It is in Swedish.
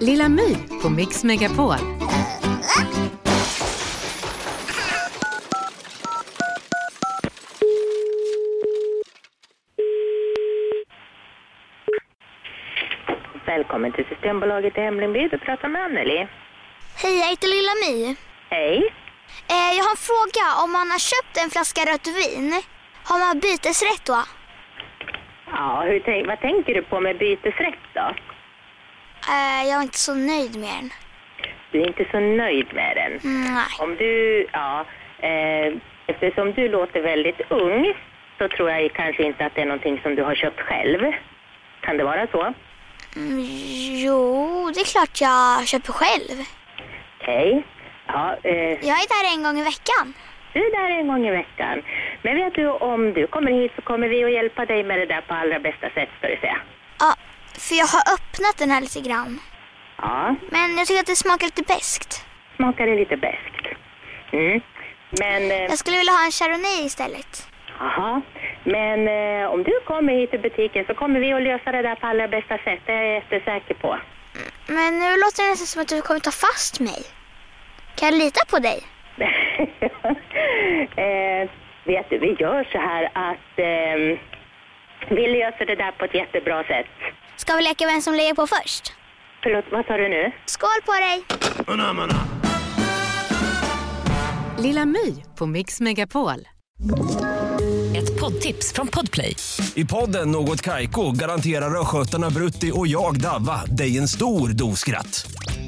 Lilla My på Mix Megapol. Välkommen till Systembolaget i Hemlingby. Du pratar med Anneli. Hej, jag heter Lilla My. Hej. Eh, jag har en fråga. Om man har köpt en flaska rött vin, har man bytesrätt då? Ja, hur tänk, vad tänker du på med bytesrätt då? Eh, jag är inte så nöjd med den. Du är inte så nöjd med den. Mm, nej. Om du, ja, eh, eftersom du låter väldigt ung så tror jag kanske inte att det är någonting som du har köpt själv. Kan det vara så? Mm, jo, det är klart jag köper själv. Okej. Ja, eh, Jag är där en gång i veckan. du är där en gång i veckan. Men vet du, om du kommer hit så kommer vi att hjälpa dig med det där på allra bästa sätt, ska du säga. Ja, för jag har öppnat den här lite grann. Ja, Men jag tycker att det smakar lite beskt. smakar det lite beskt. Mm. Men... Eh, Jag skulle vilja ha en chardonnay istället. Jaha, men eh, om du kommer hit till butiken så kommer vi att lösa det där på allra bästa sätt, det är jag jättesäker på. Men nu låter det nästan som att du kommer ta fast mig. Kan jag lita på dig? eh, vet du, vi gör så här att eh, vi löser det där på ett jättebra sätt. Ska vi leka vem som lägger på först? Förlåt, vad sa du nu? Skål på dig! Lilla My på Mix Megapol. Ett poddtips från Podplay. I podden Något Kaiko garanterar östgötarna Brutti och jag, Davva, dig en stor dos skratt.